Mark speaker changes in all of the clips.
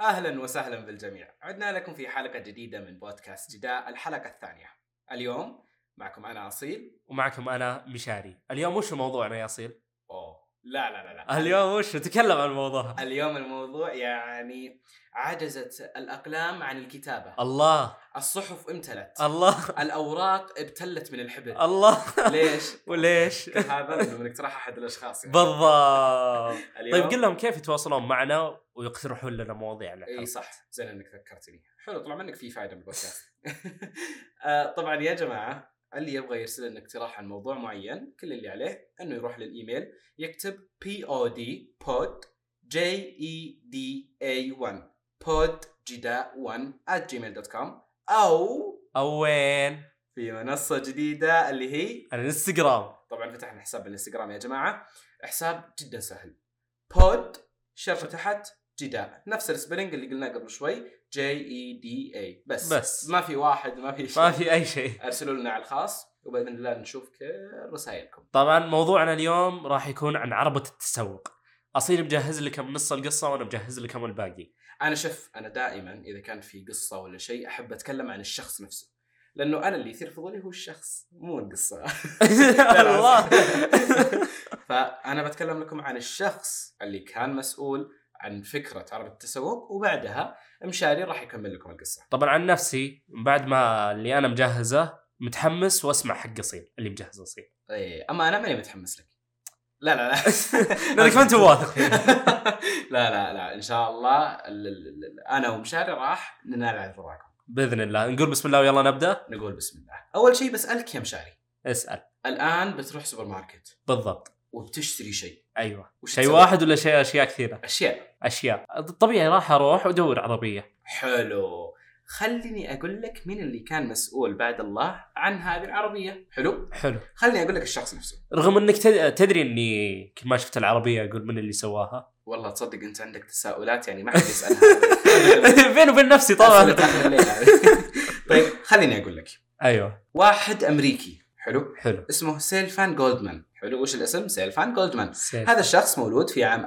Speaker 1: اهلا وسهلا بالجميع عدنا لكم في حلقه جديده من بودكاست جداء الحلقه الثانيه اليوم معكم انا اصيل
Speaker 2: ومعكم انا مشاري اليوم وش موضوعنا يا اصيل
Speaker 1: اوه لا لا لا لا
Speaker 2: اليوم وش تكلم عن الموضوع
Speaker 1: اليوم الموضوع يعني عجزت الاقلام عن الكتابه
Speaker 2: الله
Speaker 1: الصحف امتلت
Speaker 2: الله
Speaker 1: الاوراق ابتلت من الحبر
Speaker 2: الله
Speaker 1: ليش
Speaker 2: وليش
Speaker 1: هذا إنه من اقتراح احد الاشخاص يعني.
Speaker 2: بالضبط
Speaker 1: اليوم
Speaker 2: طيب قل لهم كيف يتواصلون معنا ويقترحون لنا مواضيعنا
Speaker 1: اي إيه، صح زين انك ذكرتني حلو طلع منك في فائده من البودكاست آه، طبعا يا جماعه اللي يبغى يرسل لنا اقتراح عن موضوع معين كل اللي عليه انه يروح للايميل يكتب بي او دي بود جي اي دي اي 1 بود جداء 1 at gmail.com او
Speaker 2: او وين
Speaker 1: في منصه جديده اللي هي
Speaker 2: الانستغرام
Speaker 1: طبعا فتحنا حساب بالانستغرام يا جماعه حساب جدا سهل بود شرطه تحت جداء نفس السبلنج اللي قلناه قبل شوي جي اي دي اي بس
Speaker 2: بس.
Speaker 1: ما في واحد ما في شيء
Speaker 2: ما في اي شيء
Speaker 1: ارسلوا لنا على الخاص وباذن الله نشوف كل رسائلكم
Speaker 2: طبعا موضوعنا اليوم راح يكون عن عربة التسوق اصيل مجهز لكم نص القصة وانا مجهز لكم الباقي
Speaker 1: انا شف انا دائما اذا كان في قصه ولا شيء احب اتكلم عن الشخص نفسه لانه انا اللي يثير فضولي هو الشخص مو القصه
Speaker 2: الله
Speaker 1: فانا بتكلم لكم عن الشخص اللي كان مسؤول عن فكره عربه التسوق وبعدها مشاري راح يكمل لكم القصه
Speaker 2: طبعا عن نفسي بعد ما اللي انا مجهزه متحمس واسمع حق اصيل اللي مجهزه اصيل
Speaker 1: إيه اما انا ماني متحمس لك لا لا لا
Speaker 2: لانك ما انت واثق
Speaker 1: لا لا لا ان شاء الله ال- ال- ال- انا ومشاري راح ننال على رضاكم
Speaker 2: باذن الله نقول بسم الله ويلا نبدا
Speaker 1: نقول بسم الله اول شيء بسالك يا مشاري
Speaker 2: اسال
Speaker 1: الان بتروح سوبر ماركت
Speaker 2: بالضبط
Speaker 1: وبتشتري شيء
Speaker 2: ايوه
Speaker 1: وش
Speaker 2: شيء
Speaker 1: تسوي؟
Speaker 2: واحد ولا شيء اشياء كثيره
Speaker 1: اشياء
Speaker 2: اشياء طبيعي راح اروح وادور عربيه
Speaker 1: حلو خليني اقول لك مين اللي كان مسؤول بعد الله عن هذه العربيه حلو
Speaker 2: حلو
Speaker 1: خليني اقول لك الشخص نفسه
Speaker 2: رغم انك تد- تدري اني كل ما شفت العربيه اقول من اللي سواها
Speaker 1: والله تصدق انت عندك تساؤلات يعني ما حد يسالها
Speaker 2: بيني وبين نفسي
Speaker 1: طبعا
Speaker 2: طبعا
Speaker 1: طيب خليني اقول لك
Speaker 2: ايوه
Speaker 1: واحد امريكي حلو
Speaker 2: حلو
Speaker 1: اسمه سيلفان جولدمان حلو وش الاسم سيلفان جولدمان
Speaker 2: سير.
Speaker 1: هذا الشخص مولود في عام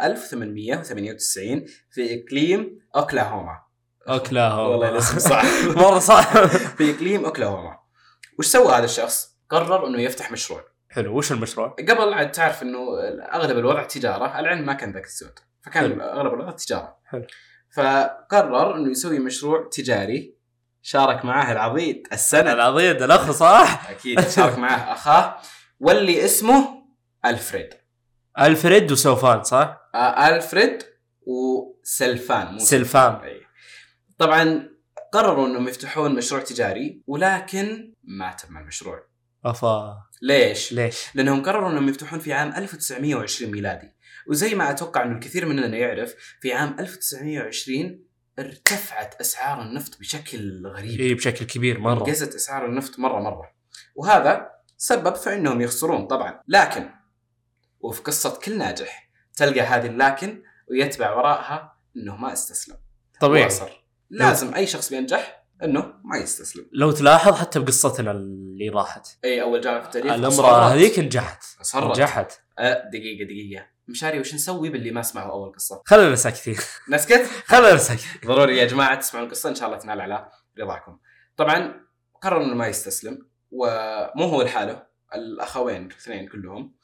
Speaker 1: 1898 في اقليم اوكلاهوما
Speaker 2: اوكلاهوما
Speaker 1: والله الاسم صعب
Speaker 2: مره صعب
Speaker 1: في اقليم اوكلاهوما وش سوى هذا الشخص؟ قرر انه يفتح مشروع
Speaker 2: حلو وش المشروع؟
Speaker 1: قبل عاد تعرف انه اغلب الوضع تجاره العلم ما كان ذاك السود فكان
Speaker 2: حلو.
Speaker 1: اغلب الوضع تجاره
Speaker 2: حلو.
Speaker 1: فقرر انه يسوي مشروع تجاري شارك معاه العضيد السند
Speaker 2: العضيد الاخ صح؟
Speaker 1: اكيد شارك معاه اخاه واللي اسمه الفريد
Speaker 2: الفريد وسوفان صح؟
Speaker 1: آه، الفريد وسلفان مو
Speaker 2: سلفان
Speaker 1: أي. طبعا قرروا انهم يفتحون مشروع تجاري ولكن ما تم المشروع
Speaker 2: افا
Speaker 1: ليش؟
Speaker 2: ليش؟
Speaker 1: لانهم قرروا انهم يفتحون في عام 1920 ميلادي وزي ما اتوقع انه الكثير مننا يعرف في عام 1920 ارتفعت اسعار النفط بشكل غريب
Speaker 2: اي إيه، بشكل كبير مره
Speaker 1: قزت اسعار النفط مره مره وهذا سبب في انهم يخسرون طبعا لكن وفي قصه كل ناجح تلقى هذه اللكن ويتبع وراءها انه ما استسلم
Speaker 2: طبيعي إيه.
Speaker 1: واصر. لازم اي شخص بينجح انه ما يستسلم
Speaker 2: لو تلاحظ حتى بقصتنا اللي راحت
Speaker 1: اي اول جامعه في التاريخ
Speaker 2: الامراه
Speaker 1: أصرت.
Speaker 2: هذيك نجحت
Speaker 1: أصرت.
Speaker 2: نجحت
Speaker 1: أه دقيقه دقيقه مشاري وش نسوي باللي ما سمعوا اول قصه
Speaker 2: خلينا ساكتين
Speaker 1: نسكت
Speaker 2: خلينا ساكتين
Speaker 1: ضروري يا جماعه تسمعون القصه ان شاء الله تنال على رضاكم. طبعا قرر انه ما يستسلم ومو هو لحاله الاخوين الاثنين كلهم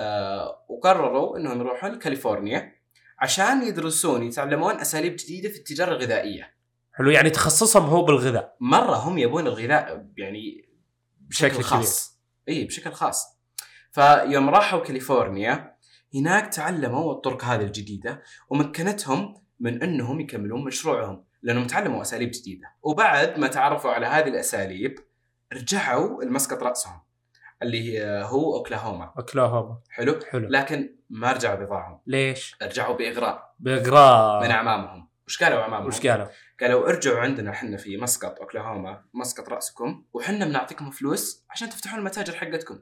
Speaker 1: آه وقرروا انهم يروحون كاليفورنيا عشان يدرسون يتعلمون اساليب جديده في التجاره الغذائيه.
Speaker 2: حلو يعني تخصصهم هو بالغذاء
Speaker 1: مره هم يبون الغذاء يعني بشكل
Speaker 2: بشكل
Speaker 1: خاص. اي بشكل خاص. فيوم راحوا كاليفورنيا هناك تعلموا الطرق هذه الجديده ومكنتهم من انهم يكملون مشروعهم لانهم تعلموا اساليب جديده وبعد ما تعرفوا على هذه الاساليب رجعوا المسقط راسهم اللي هو اوكلاهوما
Speaker 2: اوكلاهوما
Speaker 1: حلو
Speaker 2: حلو
Speaker 1: لكن ما رجعوا بضاعهم
Speaker 2: ليش؟
Speaker 1: رجعوا باغراء من
Speaker 2: باقراء
Speaker 1: اعمامهم وش قالوا اعمامهم
Speaker 2: آه. وش قالوا؟
Speaker 1: قالوا ارجعوا عندنا احنا في مسقط اوكلاهوما مسقط راسكم وحنا بنعطيكم فلوس عشان تفتحون المتاجر حقتكم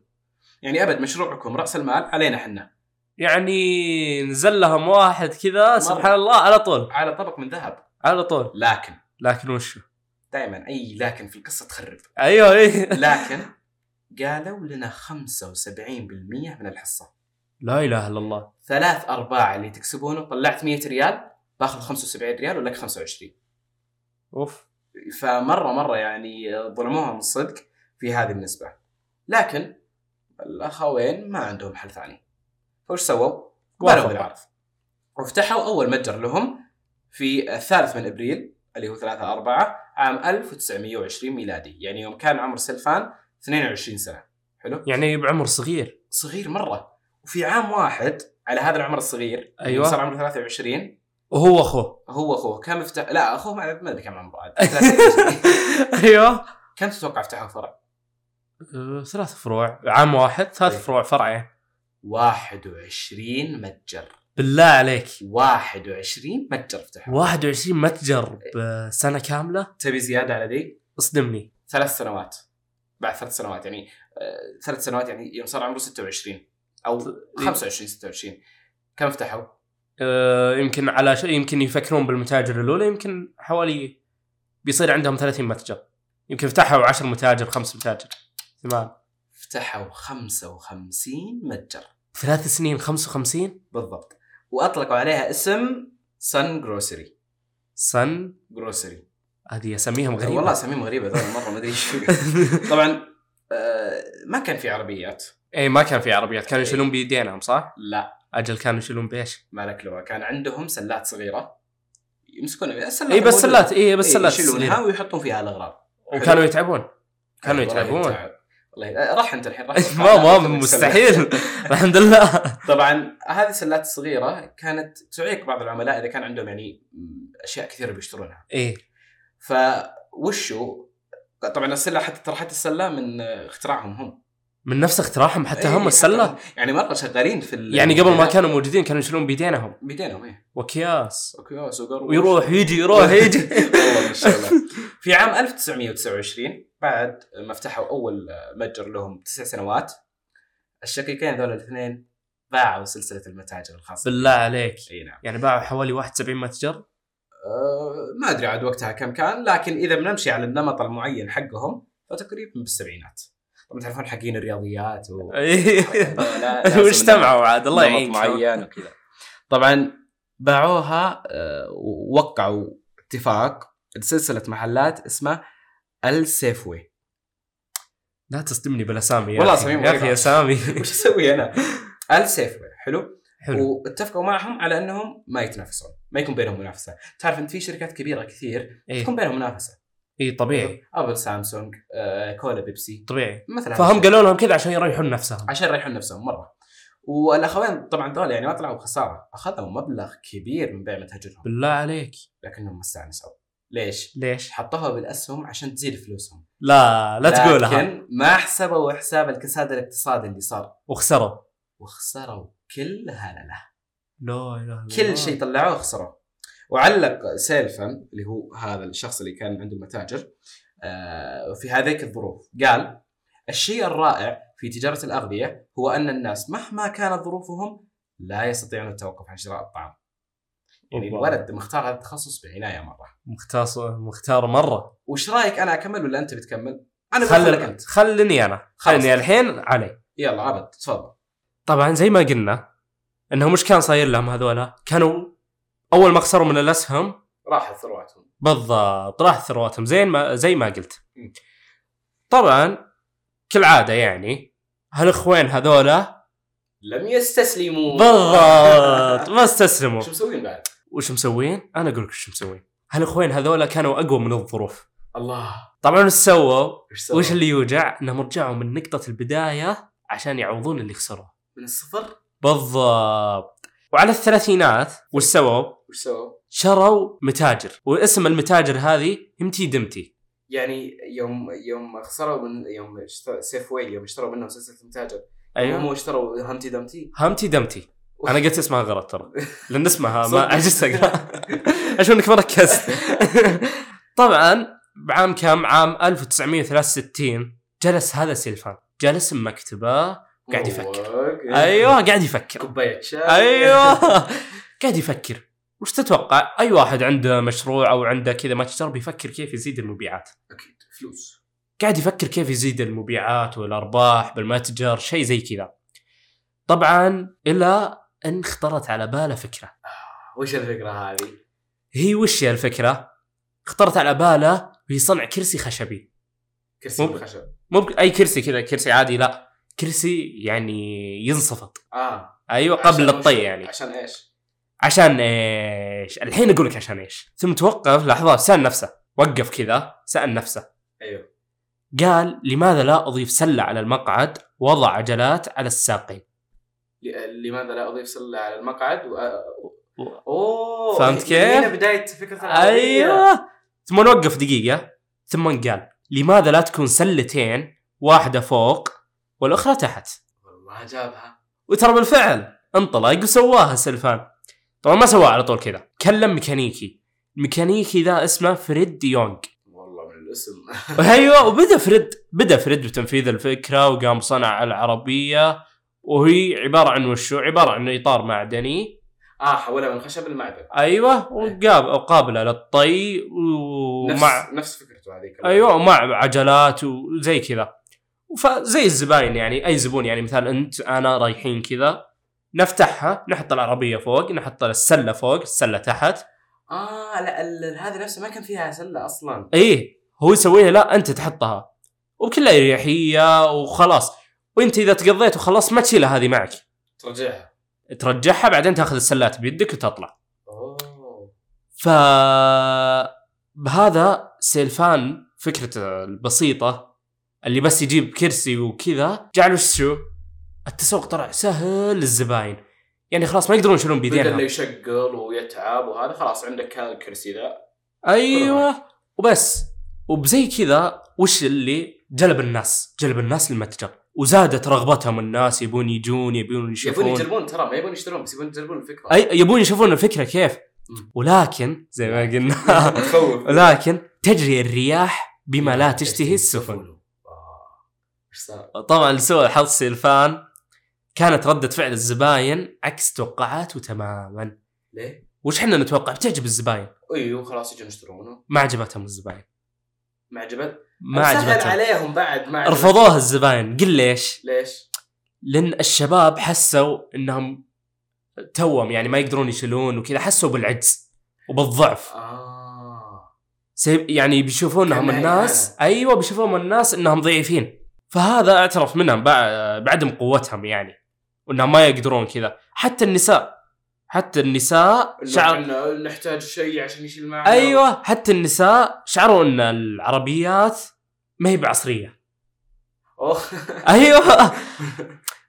Speaker 1: يعني ابد مشروعكم راس المال علينا احنا
Speaker 2: يعني نزل لهم واحد كذا سبحان الله على طول
Speaker 1: على طبق من ذهب
Speaker 2: على طول
Speaker 1: لكن
Speaker 2: لكن وش
Speaker 1: دائما اي لكن في القصه تخرب
Speaker 2: ايوه اي
Speaker 1: لكن قالوا لنا 75% من الحصه
Speaker 2: لا اله الا الله
Speaker 1: ثلاث ارباع اللي تكسبونه طلعت 100 ريال باخذ 75 ريال ولك 25
Speaker 2: اوف
Speaker 1: فمره مره يعني ظلموها من صدق في هذه النسبه لكن الاخوين ما عندهم حل ثاني فوش سووا؟ بنوا
Speaker 2: وافقوا.
Speaker 1: بالعرض وفتحوا اول متجر لهم في الثالث من ابريل اللي هو 3 4 عام 1920 ميلادي يعني يوم كان عمر سلفان 22 سنه حلو
Speaker 2: يعني بعمر صغير
Speaker 1: صغير مره وفي عام واحد على هذا العمر الصغير
Speaker 2: أيوة.
Speaker 1: صار عمره 23
Speaker 2: وهو اخوه
Speaker 1: هو اخوه كان مفتح لا اخوه ما ما ادري كم عمره عاد
Speaker 2: ايوه
Speaker 1: كم تتوقع فتحوا فرع؟
Speaker 2: أه، ثلاث فروع عام واحد
Speaker 1: إيه.
Speaker 2: ثلاث فروع فرعين
Speaker 1: 21 متجر
Speaker 2: بالله عليك
Speaker 1: 21 متجر فتحوا
Speaker 2: 21 متجر بسنه كامله
Speaker 1: تبي زياده على ذي؟
Speaker 2: آه، اصدمني
Speaker 1: ثلاث سنوات بعد ثلاث سنوات يعني آه، ثلاث سنوات يعني يوم صار عمره 26 او 25 26 كم فتحوا؟
Speaker 2: أه، يمكن على شيء يمكن يفكرون بالمتاجر الاولى يمكن حوالي بيصير عندهم 30 متجر يمكن فتحوا 10 متاجر خمس متاجر ثمان
Speaker 1: فتحوا 55 متجر
Speaker 2: ثلاث سنين 55
Speaker 1: بالضبط واطلقوا عليها اسم سن جروسري
Speaker 2: سن
Speaker 1: جروسري
Speaker 2: هذه اسميهم غريبه
Speaker 1: والله اساميهم غريبه ذول مره ما ادري شو طبعا آه، ما كان في عربيات
Speaker 2: اي ما كان في عربيات كانوا يشيلون بيدينهم صح؟
Speaker 1: لا
Speaker 2: اجل كانوا يشيلون بايش؟
Speaker 1: ما لك لغه كان عندهم سلات صغيره يمسكون السلات
Speaker 2: اي بس
Speaker 1: موجودة.
Speaker 2: سلات اي بس
Speaker 1: إيه،
Speaker 2: سلات
Speaker 1: يشيلونها
Speaker 2: صغيرة.
Speaker 1: ويحطون فيها الاغراض
Speaker 2: وكانوا يتعبون كانوا
Speaker 1: والله
Speaker 2: يتعبون.
Speaker 1: تعب. والله آه، راح انت الحين راح
Speaker 2: ما ما مستحيل الحمد لله
Speaker 1: طبعا هذه السلات الصغيره كانت تعيق بعض العملاء اذا كان عندهم يعني م، اشياء كثيره بيشترونها
Speaker 2: اي
Speaker 1: فوشو طبعا السله حتى طرحت السله من اختراعهم هم
Speaker 2: من نفس اقتراحهم حتى
Speaker 1: إيه،
Speaker 2: هم السله
Speaker 1: يعني مره شغالين في ال-
Speaker 2: يعني قبل ما كانوا موجودين كانوا يشيلون بيدينهم
Speaker 1: بيدينهم ايه
Speaker 2: واكياس
Speaker 1: اكياس وقروش
Speaker 2: ويروح يجي يروح يجي
Speaker 1: والله ما شاء الله في عام 1929 بعد ما فتحوا اول متجر لهم تسع سنوات الشقيقين ذول الاثنين باعوا سلسله المتاجر الخاصه
Speaker 2: بالله عليك
Speaker 1: اي نعم
Speaker 2: يعني باعوا حوالي 71 متجر
Speaker 1: أه ما ادري عاد وقتها كم كان لكن اذا بنمشي على النمط المعين حقهم فتقريبا بالسبعينات طبعا تعرفون حقين الرياضيات و... لا- لازم
Speaker 2: واجتمعوا عاد الله
Speaker 1: نمط
Speaker 2: يعينك
Speaker 1: معين وكذا طبعا باعوها آه، ووقعوا اتفاق سلسله محلات اسمها السيفوي
Speaker 2: لا تصدمني بالاسامي يا
Speaker 1: والله
Speaker 2: أخي.
Speaker 1: أساميهم
Speaker 2: يا اخي
Speaker 1: غريبة.
Speaker 2: اسامي
Speaker 1: وش اسوي انا؟ السيفوي حلو؟
Speaker 2: حلو
Speaker 1: واتفقوا معهم على انهم ما يتنافسون ما يكون بينهم منافسه تعرف انت في شركات كبيره كثير
Speaker 2: اي
Speaker 1: تكون بينهم منافسه
Speaker 2: اي إيه. طبيعي
Speaker 1: ابل سامسونج آه، كولا بيبسي
Speaker 2: طبيعي
Speaker 1: مثلا
Speaker 2: فهم قالوا لهم كذا عشان يريحون نفسهم
Speaker 1: عشان يريحون نفسهم مره والاخوين طبعا ذول يعني ما طلعوا بخساره اخذوا مبلغ كبير من بيع متاجرهم
Speaker 2: بالله عليك
Speaker 1: لكنهم ما استانسوا ليش؟
Speaker 2: ليش؟
Speaker 1: حطوها بالاسهم عشان تزيد فلوسهم
Speaker 2: لا لا تقولها
Speaker 1: لكن ما حسبوا حساب الكساد الاقتصادي اللي صار
Speaker 2: وخسروا
Speaker 1: وخسروا كل هلله
Speaker 2: لا اله الا الله.
Speaker 1: كل شيء طيب، طلعوه خسروه وعلق سيلفن اللي هو هذا الشخص اللي كان عنده المتاجر آه، في هذيك الظروف قال الشيء الرائع في تجارة الأغذية هو أن الناس مهما كانت ظروفهم لا يستطيعون التوقف عن شراء الطعام يعني
Speaker 2: والله.
Speaker 1: الولد مختار هذا التخصص بعناية مرة
Speaker 2: مختار مختار مره
Speaker 1: وش رايك انا اكمل ولا انت بتكمل؟ انا بقول لك
Speaker 2: خل...
Speaker 1: انت
Speaker 2: خلني انا
Speaker 1: خلاص.
Speaker 2: خلني الحين علي
Speaker 1: يلا عبد تفضل
Speaker 2: طبعا زي ما قلنا انهم مش كان صاير لهم هذولا كانوا اول ما خسروا من الاسهم
Speaker 1: راحت ثرواتهم
Speaker 2: بالضبط راح ثرواتهم زي ما زي ما قلت
Speaker 1: مم.
Speaker 2: طبعا كالعاده يعني هالاخوين هذولا
Speaker 1: لم يستسلموا
Speaker 2: بالضبط ما استسلموا
Speaker 1: شو مسوين بعد؟
Speaker 2: وش مسوين؟ انا اقول لك وش مسوين هالاخوين هذولا كانوا اقوى من الظروف
Speaker 1: الله
Speaker 2: طبعا وش سووا؟
Speaker 1: وش سووا؟
Speaker 2: وش اللي يوجع؟ انهم رجعوا من نقطة البداية عشان يعوضون اللي خسروه
Speaker 1: من الصفر
Speaker 2: بالضبط وعلى الثلاثينات وش سووا؟
Speaker 1: وش سووا؟
Speaker 2: شروا متاجر واسم المتاجر هذه امتي دمتي
Speaker 1: يعني يوم يوم خسروا من يوم اشت- سيف ويل يوم اشتروا منهم سلسله المتاجر هم
Speaker 2: ايوه
Speaker 1: اشتروا همتي دمتي
Speaker 2: همتي دمتي انا قلت اسمها غلط ترى لان اسمها ما
Speaker 1: صدق.
Speaker 2: عجزت اقرا اشوف انك ما ركزت طبعا بعام كم عام 1963 جلس هذا سيلفان جلس بمكتبه
Speaker 1: إيه.
Speaker 2: قاعد يفكر.
Speaker 1: أوكي.
Speaker 2: ايوه قاعد يفكر
Speaker 1: كوبايه شاي
Speaker 2: ايوه قاعد يفكر وش تتوقع اي واحد عنده مشروع او عنده كذا متجر بيفكر كيف يزيد المبيعات
Speaker 1: اكيد فلوس
Speaker 2: قاعد يفكر كيف يزيد المبيعات والارباح بالمتجر شيء زي كذا طبعا الى ان خطرت على باله فكره
Speaker 1: وش الفكره هذه؟
Speaker 2: هي وش هي الفكره؟ خطرت على باله وهي صنع كرسي خشبي
Speaker 1: كرسي
Speaker 2: مو-
Speaker 1: من خشب
Speaker 2: مو بك- اي كرسي كذا كرسي عادي لا كرسي يعني ينصفط
Speaker 1: اه
Speaker 2: ايوه
Speaker 1: عشان
Speaker 2: قبل
Speaker 1: وش؟
Speaker 2: الطي يعني
Speaker 1: عشان ايش؟
Speaker 2: عشان ايش؟ الحين اقول لك عشان ايش ثم توقف لحظه سال نفسه وقف كذا سال نفسه
Speaker 1: ايوه
Speaker 2: قال لماذا لا اضيف سله على المقعد وضع عجلات على الساقين
Speaker 1: ل- لماذا لا اضيف سله على المقعد و...
Speaker 2: و-
Speaker 1: اوه
Speaker 2: فهمت
Speaker 1: هي-
Speaker 2: كيف؟
Speaker 1: هنا بدايه فكره العربية.
Speaker 2: ايوه ثم نوقف دقيقه ثم قال لماذا لا تكون سلتين واحده فوق والاخرى تحت
Speaker 1: والله جابها
Speaker 2: وترى بالفعل انطلق وسواها سلفان طبعا ما سواها على طول كذا كلم ميكانيكي الميكانيكي ذا اسمه فريد يونغ
Speaker 1: والله من الاسم
Speaker 2: ايوه وبدا فريد بدا فريد بتنفيذ الفكره وقام صنع العربيه وهي عباره عن وشو عباره عن اطار معدني
Speaker 1: اه حولها من خشب للمعدن
Speaker 2: ايوه وقاب- وقابله للطي ومع
Speaker 1: نفس نفس فكرته هذيك
Speaker 2: ايوه ومع عجلات وزي كذا فزي الزباين يعني اي زبون يعني مثلا انت انا رايحين كذا نفتحها نحط العربيه فوق نحط السله فوق السله تحت
Speaker 1: اه لا ال- هذه نفسها ما كان فيها سله اصلا
Speaker 2: ايه هو يسويها لا انت تحطها وكلها اريحيه وخلاص وانت اذا تقضيت وخلاص ما تشيلها هذه معك
Speaker 1: ترجعها
Speaker 2: ترجعها بعدين تاخذ السلات بيدك وتطلع
Speaker 1: اوه
Speaker 2: ف بهذا سيلفان فكرته البسيطه اللي بس يجيب كرسي وكذا جعله شو؟ التسوق طلع سهل للزباين يعني خلاص ما يقدرون يشيلون
Speaker 1: بدل لا
Speaker 2: بيدينهم
Speaker 1: يشقل ويتعب وهذا خلاص عندك هذا الكرسي ذا
Speaker 2: ايوه وبس وبزي كذا وش اللي جلب الناس جلب الناس للمتجر وزادت رغبتهم الناس يبون يجون يبون
Speaker 1: يبون
Speaker 2: يشوفون
Speaker 1: يجربون ترى ما يبون يشترون بس يبون يجربون الفكره
Speaker 2: اي يبون يشوفون الفكره كيف
Speaker 1: مم.
Speaker 2: ولكن زي ما قلنا
Speaker 1: تخوف
Speaker 2: لكن تجري الرياح بما لا تشتهي السفن
Speaker 1: آه. ايش صار؟
Speaker 2: طبعا لسوء الحظ سيلفان كانت ردة فعل الزباين عكس توقعاته تماما
Speaker 1: ليه؟
Speaker 2: وش احنا نتوقع بتعجب الزباين
Speaker 1: ايوه خلاص يجون يشترونه
Speaker 2: ما عجبتهم الزباين
Speaker 1: ما عجبت
Speaker 2: ما
Speaker 1: سهل
Speaker 2: عجبتهم
Speaker 1: عليهم بعد ما عجبت.
Speaker 2: رفضوها الزباين قل ليش
Speaker 1: ليش؟
Speaker 2: لان الشباب حسوا انهم توهم يعني ما يقدرون يشيلون وكذا حسوا بالعجز وبالضعف
Speaker 1: اه
Speaker 2: سيب يعني بيشوفونهم
Speaker 1: كأنها
Speaker 2: الناس ايوه بيشوفونهم الناس انهم ضعيفين فهذا اعترف منهم بع- بعدم قوتهم يعني وانهم ما يقدرون كذا حتى النساء حتى النساء
Speaker 1: إنه
Speaker 2: شعر
Speaker 1: إحنا نحتاج شيء عشان يشيل معنا
Speaker 2: ايوه حتى النساء شعروا ان العربيات ما هي بعصريه
Speaker 1: اوه
Speaker 2: ايوه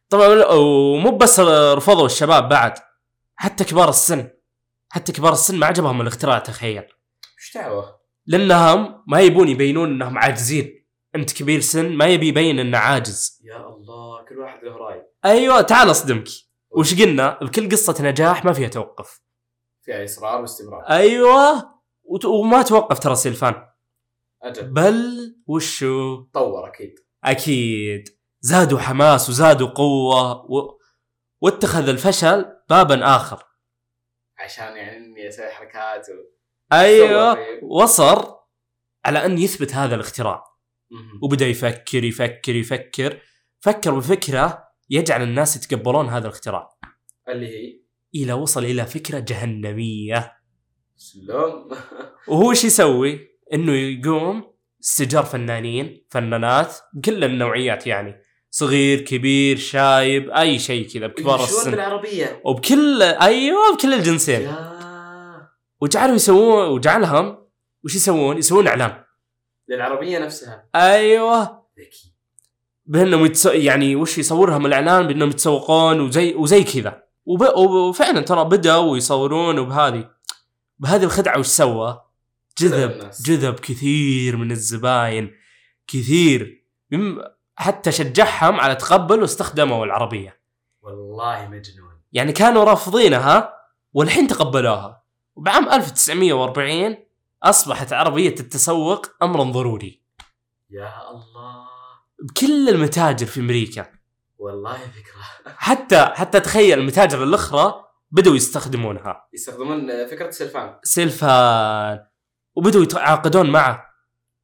Speaker 2: طبعا ومو بس رفضوا الشباب بعد حتى كبار السن حتى كبار السن ما عجبهم الاختراع تخيل
Speaker 1: ايش دعوه؟
Speaker 2: لانهم ما يبون يبينون انهم عاجزين انت كبير سن ما يبي يبين انه عاجز
Speaker 1: يا الله كل واحد له راي
Speaker 2: ايوه تعال اصدمك وش قلنا بكل قصه نجاح ما فيها توقف
Speaker 1: فيها اصرار واستمرار
Speaker 2: ايوه وت- وما توقف ترى سيلفان
Speaker 1: اجل
Speaker 2: بل وشو
Speaker 1: تطور اكيد
Speaker 2: اكيد زادوا حماس وزادوا قوه و... واتخذ الفشل بابا اخر
Speaker 1: عشان يعني اني اسوي حركات و...
Speaker 2: ايوه
Speaker 1: طيب.
Speaker 2: وصر على ان يثبت هذا الاختراع
Speaker 1: مهم.
Speaker 2: وبدا يفكر يفكر يفكر فكر بفكره يجعل الناس يتقبلون هذا الاختراع
Speaker 1: اللي هي
Speaker 2: الى وصل الى فكره جهنميه
Speaker 1: سلام
Speaker 2: وهو ايش يسوي؟ انه يقوم استجار فنانين فنانات كل النوعيات يعني صغير كبير شايب اي شيء كذا بكبار
Speaker 1: يشون
Speaker 2: السن
Speaker 1: بالعربيه
Speaker 2: وبكل ايوه بكل الجنسين
Speaker 1: يا
Speaker 2: وجعلوا يسوون وجعلهم وش يسوون؟ يسوون اعلام
Speaker 1: للعربيه نفسها
Speaker 2: ايوه
Speaker 1: ذكي
Speaker 2: بانهم يتس... يعني وش يصورهم الاعلان بانهم يتسوقون وزي وزي كذا وب... وفعلا ترى بدأوا يصورون وبهذه بهذه الخدعه وش سوى؟
Speaker 1: سلم
Speaker 2: جذب
Speaker 1: الناس.
Speaker 2: جذب كثير من الزباين كثير مم- حتى شجعهم على تقبل واستخدموا العربيه
Speaker 1: والله مجنون
Speaker 2: يعني كانوا رافضينها والحين تقبلوها وبعام 1940 اصبحت عربيه التسوق امرا ضروري
Speaker 1: يا الله
Speaker 2: بكل المتاجر في امريكا
Speaker 1: والله فكره
Speaker 2: حتى حتى تخيل المتاجر الاخرى بدوا يستخدمونها
Speaker 1: يستخدمون فكره سلفان
Speaker 2: سيلفان وبدوا يتعاقدون معه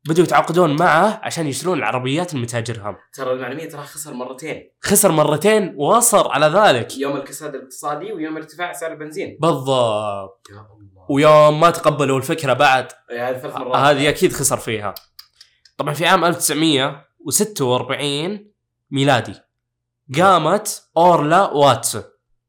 Speaker 2: بدوا يتعاقدون معه عشان يشترون العربيات المتاجرهم
Speaker 1: ترى المعلميه ترى خسر مرتين
Speaker 2: خسر مرتين واصر على ذلك
Speaker 1: يوم الكساد الاقتصادي ويوم ارتفاع سعر البنزين
Speaker 2: بالضبط
Speaker 1: يا الله
Speaker 2: ويوم ما تقبلوا الفكره بعد
Speaker 1: إيه، هذه ثلاث مرات
Speaker 2: آه، هذه اكيد خسر فيها طبعا في عام 1946 ميلادي قامت اورلا واتسون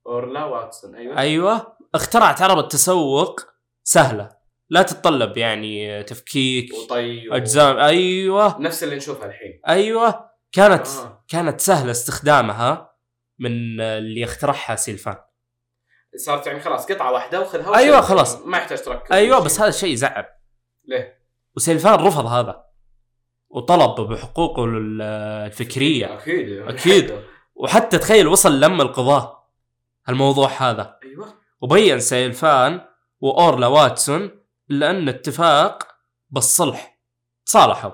Speaker 1: اورلا واتسون ايوه
Speaker 2: ايوه اخترعت عربة تسوق سهلة لا تتطلب يعني تفكيك
Speaker 1: وطي و-
Speaker 2: اجزاء ايوه
Speaker 1: نفس اللي نشوفها الحين
Speaker 2: ايوه كانت
Speaker 1: آه.
Speaker 2: كانت سهلة استخدامها من اللي اخترعها سيلفان
Speaker 1: صارت يعني خلاص قطعه واحده وخذها
Speaker 2: أيوة،
Speaker 1: وشيلها.
Speaker 2: خلاص.
Speaker 1: ما يحتاج تركب
Speaker 2: ايوه بس هذا الشيء زعل
Speaker 1: ليه؟
Speaker 2: وسيلفان رفض هذا وطلب بحقوقه ال- الفكرية
Speaker 1: اكيد
Speaker 2: أكيد. وحتى تخيل وصل لم القضاء الموضوع هذا
Speaker 1: ايوه
Speaker 2: وبين سيلفان وأورلا واتسون لأن اتفاق بالصلح تصالحوا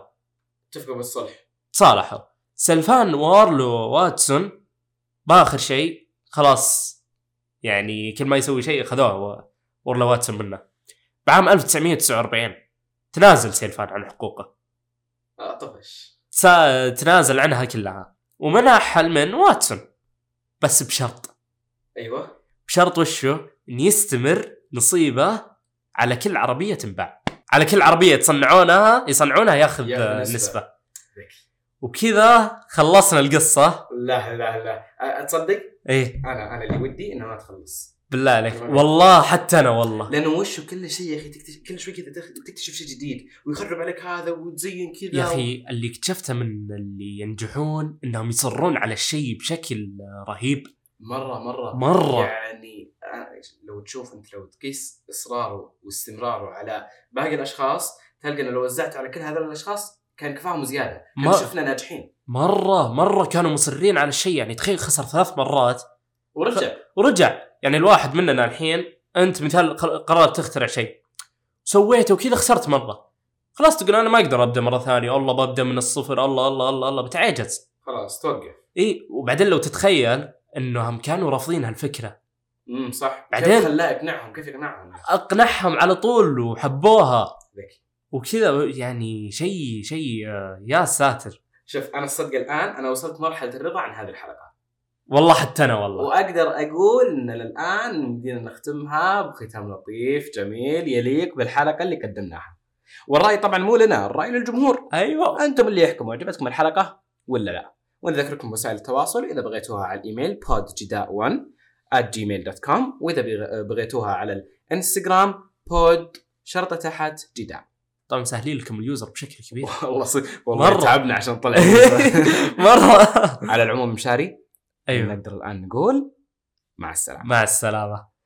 Speaker 1: اتفقوا بالصلح
Speaker 2: تصالحوا سيلفان وأورلا واتسون بآخر شيء خلاص يعني كل ما يسوي شيء أخذوه و- أورلا واتسون منه بعام 1949 تنازل سيلفان عن حقوقه
Speaker 1: آه، طفش
Speaker 2: تسا- تنازل عنها كلها ومنحها من واتسون بس بشرط
Speaker 1: ايوه
Speaker 2: بشرط وشو؟ انه يستمر نصيبه على كل عربيه تنباع على كل عربيه يصنعونها يصنعونها ياخذ
Speaker 1: ياخذ
Speaker 2: نسبه,
Speaker 1: نسبة.
Speaker 2: نسبة. وبكذا خلصنا القصه
Speaker 1: لا لا لا أ- اتصدق
Speaker 2: ايه
Speaker 1: انا انا اللي ودي انها ما تخلص
Speaker 2: بالله عليك والله حتى انا والله
Speaker 1: لانه وش كل شيء يا اخي تكتشف كل شوي كذا تخ- تكتشف شيء جديد ويخرب عليك هذا وتزين كذا
Speaker 2: يا اخي اللي اكتشفته من اللي ينجحون انهم يصرون على الشيء بشكل رهيب
Speaker 1: مره مره
Speaker 2: مره
Speaker 1: يعني أنا لو تشوف انت لو تقيس اصراره واستمراره على باقي الاشخاص تلقى انه لو وزعت على كل هذول الاشخاص كان كفاهم زياده ما
Speaker 2: ما-
Speaker 1: شفنا ناجحين
Speaker 2: مره مره كانوا مصرين على الشيء يعني تخيل خسر ثلاث مرات
Speaker 1: ورجع
Speaker 2: ورجع يعني الواحد مننا الحين انت مثال قر- قررت تخترع شيء سويته وكذا خسرت مره خلاص تقول انا ما اقدر ابدا مره ثانيه الله ببدا من الصفر الله الله الله الله بتعجز
Speaker 1: خلاص توقف
Speaker 2: اي وبعدين لو تتخيل انهم كانوا رافضين هالفكره
Speaker 1: امم صح
Speaker 2: بعدين؟
Speaker 1: كيف خلاه يقنعهم كيف يقنعهم
Speaker 2: اقنعهم على طول وحبوها
Speaker 1: ذكي
Speaker 2: وكذا يعني شيء شيء آه، يا ساتر
Speaker 1: شوف انا الصدق الان انا وصلت مرحله الرضا عن هذه الحلقه
Speaker 2: والله حتى انا والله
Speaker 1: واقدر اقول ان الان يمدينا نختمها بختام لطيف جميل يليق بالحلقه اللي قدمناها والراي طبعا مو لنا الراي للجمهور
Speaker 2: ايوه
Speaker 1: انتم اللي يحكموا عجبتكم الحلقه ولا لا ونذكركم وسائل التواصل اذا بغيتوها على الايميل podjida1 at gmail.com واذا بغ- بغيتوها على الانستغرام pod شرطه تحت جدا
Speaker 2: طبعا مسهلين لكم اليوزر بشكل كبير
Speaker 1: والله صدق والله
Speaker 2: مرة.
Speaker 1: تعبنا عشان نطلع
Speaker 2: مره
Speaker 1: على العموم مشاري
Speaker 2: ايوه
Speaker 1: نقدر الان نقول مع السلامه
Speaker 2: مع السلامه